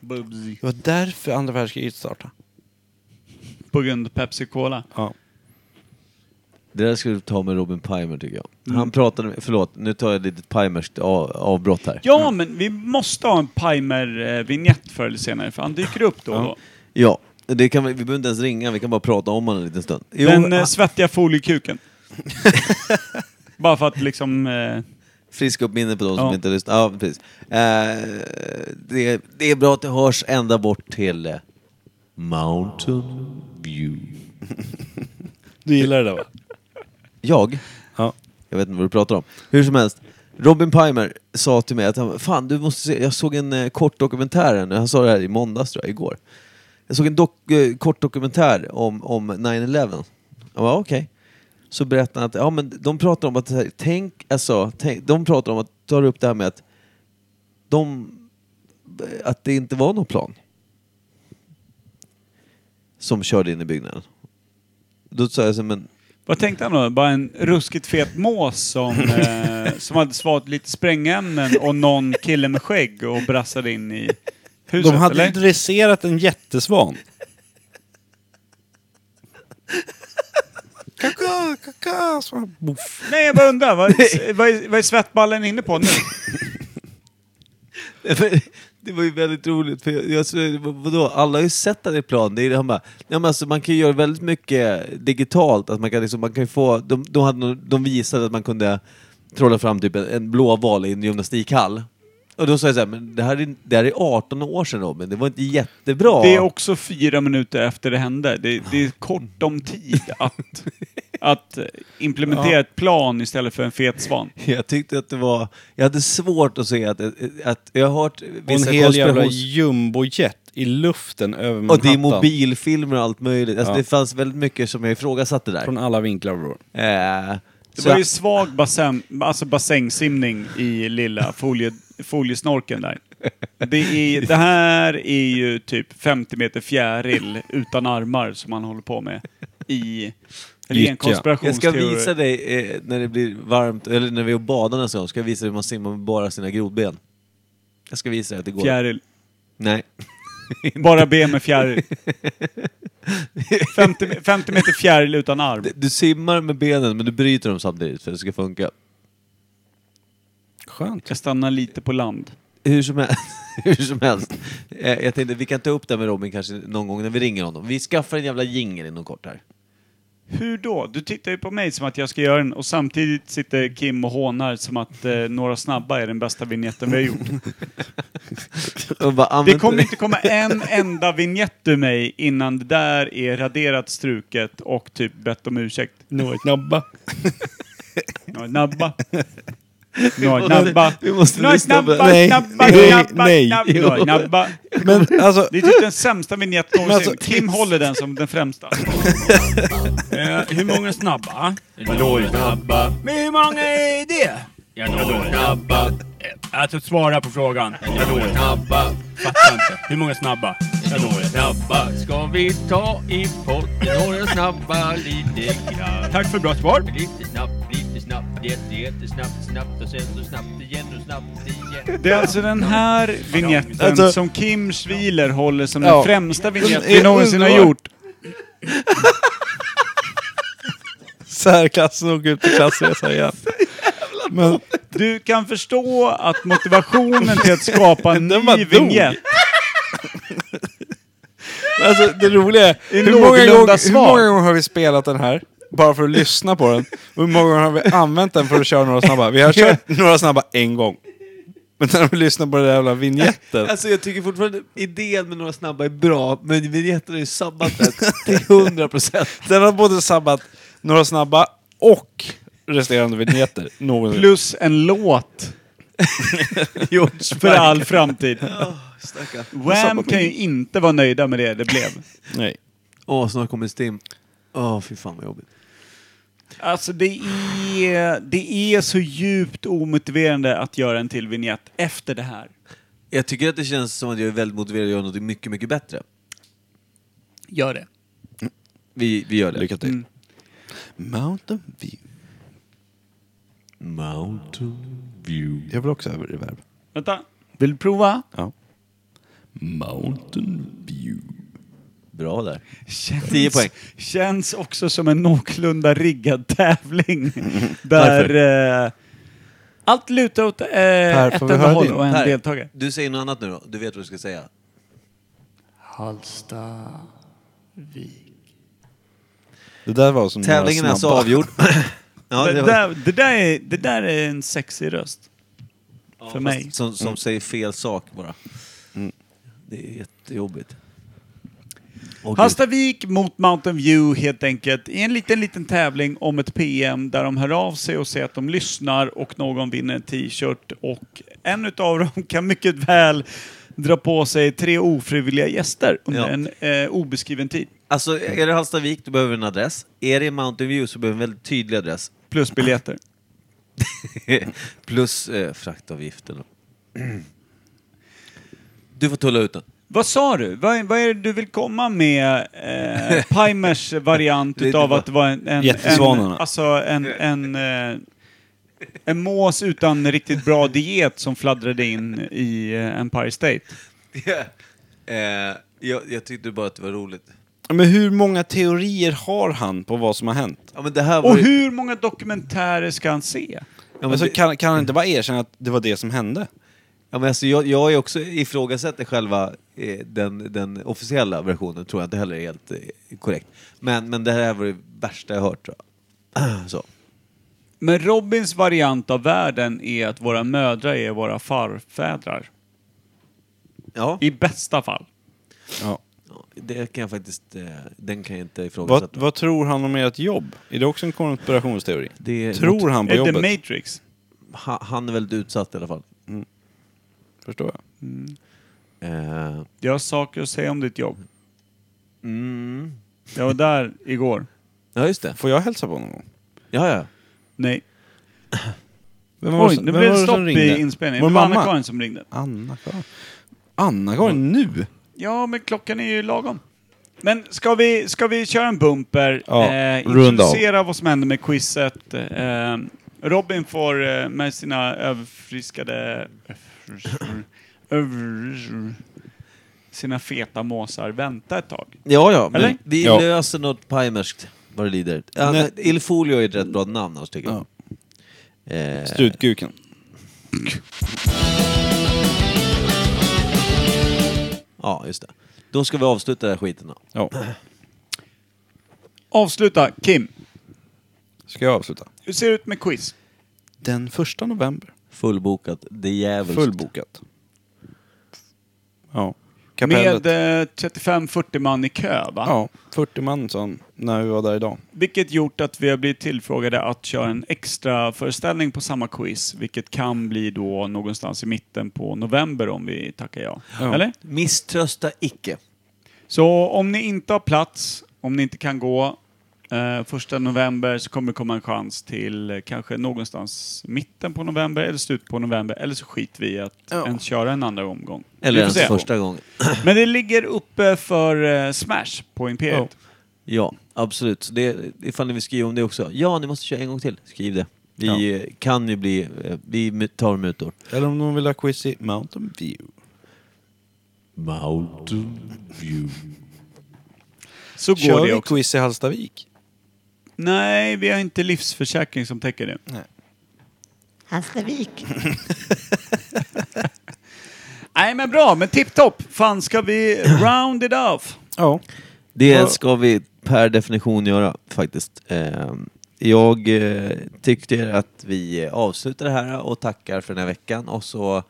Bubsy. Det var därför andra världskriget startade. På grund av Pepsi Cola. Ja. Det där ska du ta med Robin Pimer tycker jag. Mm. Han pratade med, förlåt, nu tar jag ett litet Pimerskt av, avbrott här. Ja, men vi måste ha en Pimer-vinjett förr eller senare, för han dyker upp då och då. Ja, det kan vi, vi behöver inte ens ringa, vi kan bara prata om honom en liten stund. Jo, Den eh, han- svettiga foliekuken. Bara för att liksom... Eh, friska upp minnet på de som Ja. inte har lyssnat. Ja, precis. Eh, det, det är bra att det hörs ända bort till eh, Mountain View. (laughs) Du gillar det där va? Jag? Ja. Jag vet inte vad du pratar om. Hur som helst, Robin Pimer sa till mig att han, fan du måste se, jag såg en eh, kort dokumentär här nu, han sa det här i måndags tror jag, igår. Jag såg en dok- eh, kort dokumentär om, om 9-11. Jag bara okej. Så berättade han att, ja men de pratar om att, så här, tänk, alltså, tänk, de pratar om att, tar upp det här med att de, att det inte var någon plan. Som körde in i byggnaden. Då sa jag så här, men vad tänkte han då? Bara en ruskigt fet mås som, eh, som hade svalt lite sprängämnen och någon kille med skägg och brassade in i huset, De hade eller? dresserat en jättesvan. (laughs) Kaka, kaka, svan. Boff. Nej, jag bara undrar. Vad, vad, är, vad är svettballen inne på nu? Nej, men (laughs) Det var ju väldigt roligt, för jag, jag, så- vadå, alla har ju sett den i plan. Det är, han bara, ja, men alltså, man kan ju göra väldigt mycket digitalt. Att man kan liksom, man kan ju få, de, de, hade, nå- de visade att man kunde trolla fram typ en, en blå val i en gymnastikhall. Och då sa jag så här, men det här, är, det här är 18 år sedan Robin, det var inte jättebra. Det är också fyra minuter efter det hände. Det, det är kort om tid att, att implementera ett plan istället för en fet svan. (laughs) Jag tyckte att det var, jag hade svårt att se att, att jag har hört Och en vissa hel jävla konspirations... jumbojet i luften över Och det är Manhattan. mobilfilmer och allt möjligt. Alltså, Ja. Det fanns väldigt mycket som jag ifrågasatte där. Från alla vinklar bror. Eh, Det så var jag- ju svag bassäng, alltså bassängsimning i lilla folie, foliesnorken där. Det, är, det här är ju typ 50 meter fjäril utan armar som man håller på med i... Eller i en Gyttja. Jag ska konspirationsteori. visa dig eh, när det blir varmt, eller när vi är och badar nästa gång, ska jag visa dig hur man simmar med bara sina grodben. Jag ska visa dig att det går. Fjäril. Nej. Bara ben med fjäril. 50, me- 50 meter fjäril utan arm. Du simmar med benen men du bryter dem samtidigt för att det ska funka. Skönt. Jag stannar lite på land. Hur som helst. (laughs) hur som helst. Eh, jag tänkte vi kan ta upp det här med Robin kanske någon gång när vi ringer honom. Vi skaffar en jävla jingel inom kort här. Hur då? Du tittar ju på mig som att jag ska göra den och samtidigt sitter Kim och hånar som att eh, Några snabba är den bästa vignetten vi har (laughs) gjort. Och bara, Det använd kommer inte komma en enda vignett ur mig innan det där är raderat, struket och typ bett om ursäkt. Några knabba. Ja, Nabba. Nojnabba. vi måste lyssna på- Nojnabba, Nej, nabba, nej, nabba, nej. nab- Jo. nojnabba. Men alltså, Det är typ den sämsta vinjetten någonsin. alltså, Tim håller den som den främsta. Eh, hur många snabba? Lojsnabba. Men hur många är det? Ja, lojsnabba. Alltså svara på frågan. Ja, lojsnabba. Fattar inte. Hur många snabba? Ja, lojsnabba. Ska vi ta i potten några snabba lite grann? Tack för bra svar. Lite snabbt, lite snabbt, jätte, jättesnabbt, snabbt och sen så snabbt igen och snabbt igen. Det är alltså den här vinjetten Alltså- som Kim Schwiler håller som Ja. den främsta vinjett Den är vi någonsin har underbar. gjort. särklassen åker ut på klassresa (laughs) igen. Men Du kan förstå att motivationen till att skapa (laughs) en Den bara ny dog. vinjett alltså, det roliga är, I hur många, någorlunda gånger, hur svar. många gånger har vi spelat den här? Bara för att lyssna på den. Och hur många gånger har vi använt den för att köra några snabba? Vi har kört några snabba en gång. Men när vi lyssnar på den där jävla vinjetten. (laughs) Alltså jag tycker fortfarande idén med några snabba är bra, men vinjetten är ju (laughs) sabbatet till 100 procent. Den har både sabbat några snabba och resterande vinjetter. Någonsin. plus en (laughs) låt George för all framtid. Stackarn. Wham kan ju inte vara nöjda med det det blev. Nej. Åh, snart kommer Stim. Åh, fy fan vad jobbigt. Alltså det är, det är så djupt omotiverande att göra en till vignett efter det här. Jag tycker att det känns som att jag är väldigt motiverad att göra något mycket, mycket bättre. Gör det. Vi, vi gör det. Lycka till. Mm. Mountain View. Mountain View. Jag vill också ha reverb. Vänta. Vill du prova? Ja. Mountain View. Bra där. Känns, 10 poäng. Känns också som en någorlunda riggad tävling. där eh, allt lutar åt eh, ett får vi enda höra håll din? och en Per, deltagare. Du säger något annat nu då. Du vet vad du ska säga. Det där var som Tävlingen är några alltså snabba. (laughs) avgjord. ja, Det det var, där, det, där är, det där är en sexig röst. För mig. som Mm. som säger fel sak bara. Det är jättejobbigt. Åh, gud. Hallstavik mot Mountain View helt enkelt i en liten, liten tävling om ett PM där de hör av sig och säger att de lyssnar och någon vinner en t-shirt och en utav dem (laughs) kan mycket väl dra på sig tre ofrivilliga gäster under Ja. en eh, obeskriven tid. Alltså, är det Hallstavik, du behöver en adress. Är det Mountain View så behöver du en väldigt tydlig adress. (laughs) Plus biljetter. Plus eh, fraktavgiften. Mm. Du får tulla ut den. Vad sa du? Vad, vad är det du vill komma med eh, Pimers variant Det är utav bara- att det var en... en, en Jättesvanarna. alltså en... en eh, en mås utan riktigt bra diet som fladdrade in i eh, Empire State. eh, jag, jag tyckte bara att det var roligt. Men hur många teorier har han på vad som har hänt? Ja, men det här var Och ju- hur många dokumentärer ska han se? Ja, men alltså, det- kan, kan han inte bara erkänna att det var det som hände? Ja, men alltså, jag, jag är också ifrågasätter själva eh, den, den officiella versionen, tror jag inte heller är helt eh, korrekt. Men, men det här var det värsta jag hört tror jag. (clears throat) Så. Men Robins variant av världen är att våra mödrar är våra farfädrar. Ja, I bästa fall. Ja. Ja, det kan jag faktiskt, eh, den kan jag inte Vad, ifrågasätta. vad tror han om ert jobb? Är det också en konspirationsteori? Det är- tror han på Är det jobbet? Matrix? Ha, han är väldigt utsatt i alla fall. Förstår jag. Eh, Jag har saker att säga om ditt jobb. mm. Jag var där igår. Ja, just det. Får jag hälsa på honom? Ja, ja. Nej. (clears throat) Vem Oj, som- nu vem blev var det som stopp i ringde? inspelningen. Vår Det var mamma? Anna-Karin som ringde. Anna-Karin. Mm. Anna-Karin nu? Ja, men klockan är ju lagom. Men ska vi, ska vi köra en bumper? eh, Ja, runda av. introducera vad som händer med quizet. Eh, Robin får eh, med sina överfriskade... över- sina feta måsar vänta ett tag. Ja, ja. Men Eller? vi Ja. löser något pajmerskt vad det lider. Ja, Nej. men Il Folio är ett rätt bra namn alltså, tycker jag. Ja. Eh, Strutkuken. ja, just det. Då ska vi avsluta den här skiten då. Ja. Avsluta, Kim. Ska jag avsluta? Hur ser det ut med quiz? Den första november. Fullbokat. Det är jävligt. Fullbokat. Ja. kapellet. Med eh, 35-40 man i kö, va? Ja, 40 man sa han när vi var där idag. Vilket gjort att vi har blivit tillfrågade att köra en extra föreställning på samma quiz, vilket kan bli då någonstans i mitten på november om vi tackar ja. Eller? Misströsta icke. Så om ni inte har plats, om ni inte kan gå eh, första november så kommer det komma en chans till eh, kanske någonstans mitten på november eller slutet på november eller så skiter vi i att ens köra en andra omgång. Eller Vi får ens se. första gången. Men det ligger uppe för eh, Smash på Imperiet. Ja, absolut. Så det, ifall ni vill skriva om det också. Ja, ni måste köra en gång till. Skriv det. Vi eh, kan ju bli... eh, Vi mu- tar mutor. Eller om de vill ha quiz i Mountain View. Mountain View. Så går Kör det vi också. quiz i Hallstavik? Nej, vi har inte livsförsäkring som täcker det. Hallstavik. (laughs) Nej men bra, men tipptopp! Fan ska vi round it off? Ja. Det ska vi per definition göra faktiskt. Eh, Jag eh, tycker att vi avslutar det här och tackar för den här veckan och så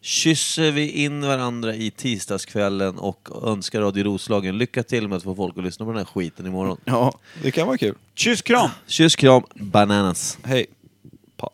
kysser vi in varandra i tisdagskvällen och önskar Radio Roslagen lycka till med att få folk att lyssna på den här skiten imorgon. ja, det kan vara kul. Kyss kram! Kyss, kram, bananas! Hej. Pa.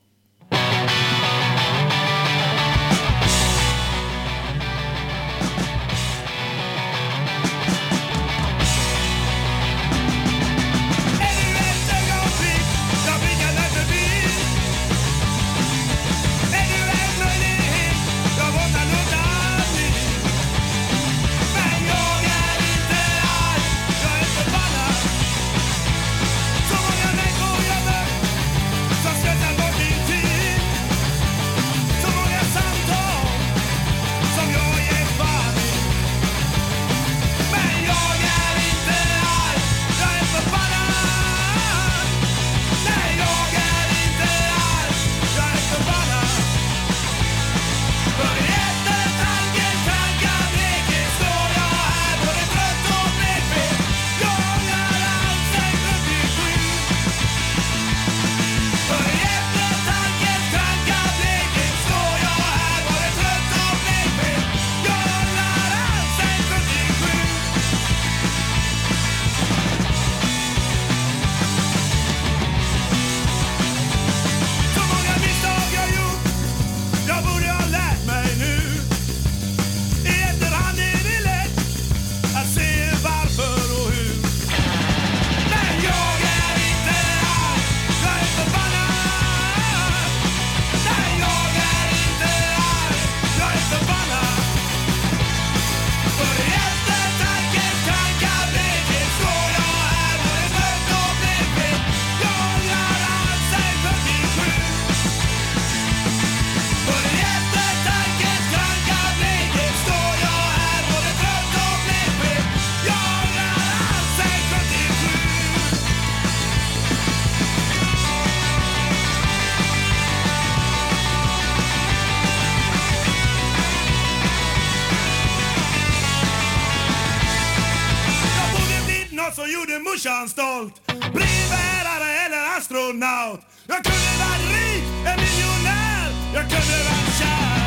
astronaut Jag kunde vara rik, en miljonär Jag kunde vara kär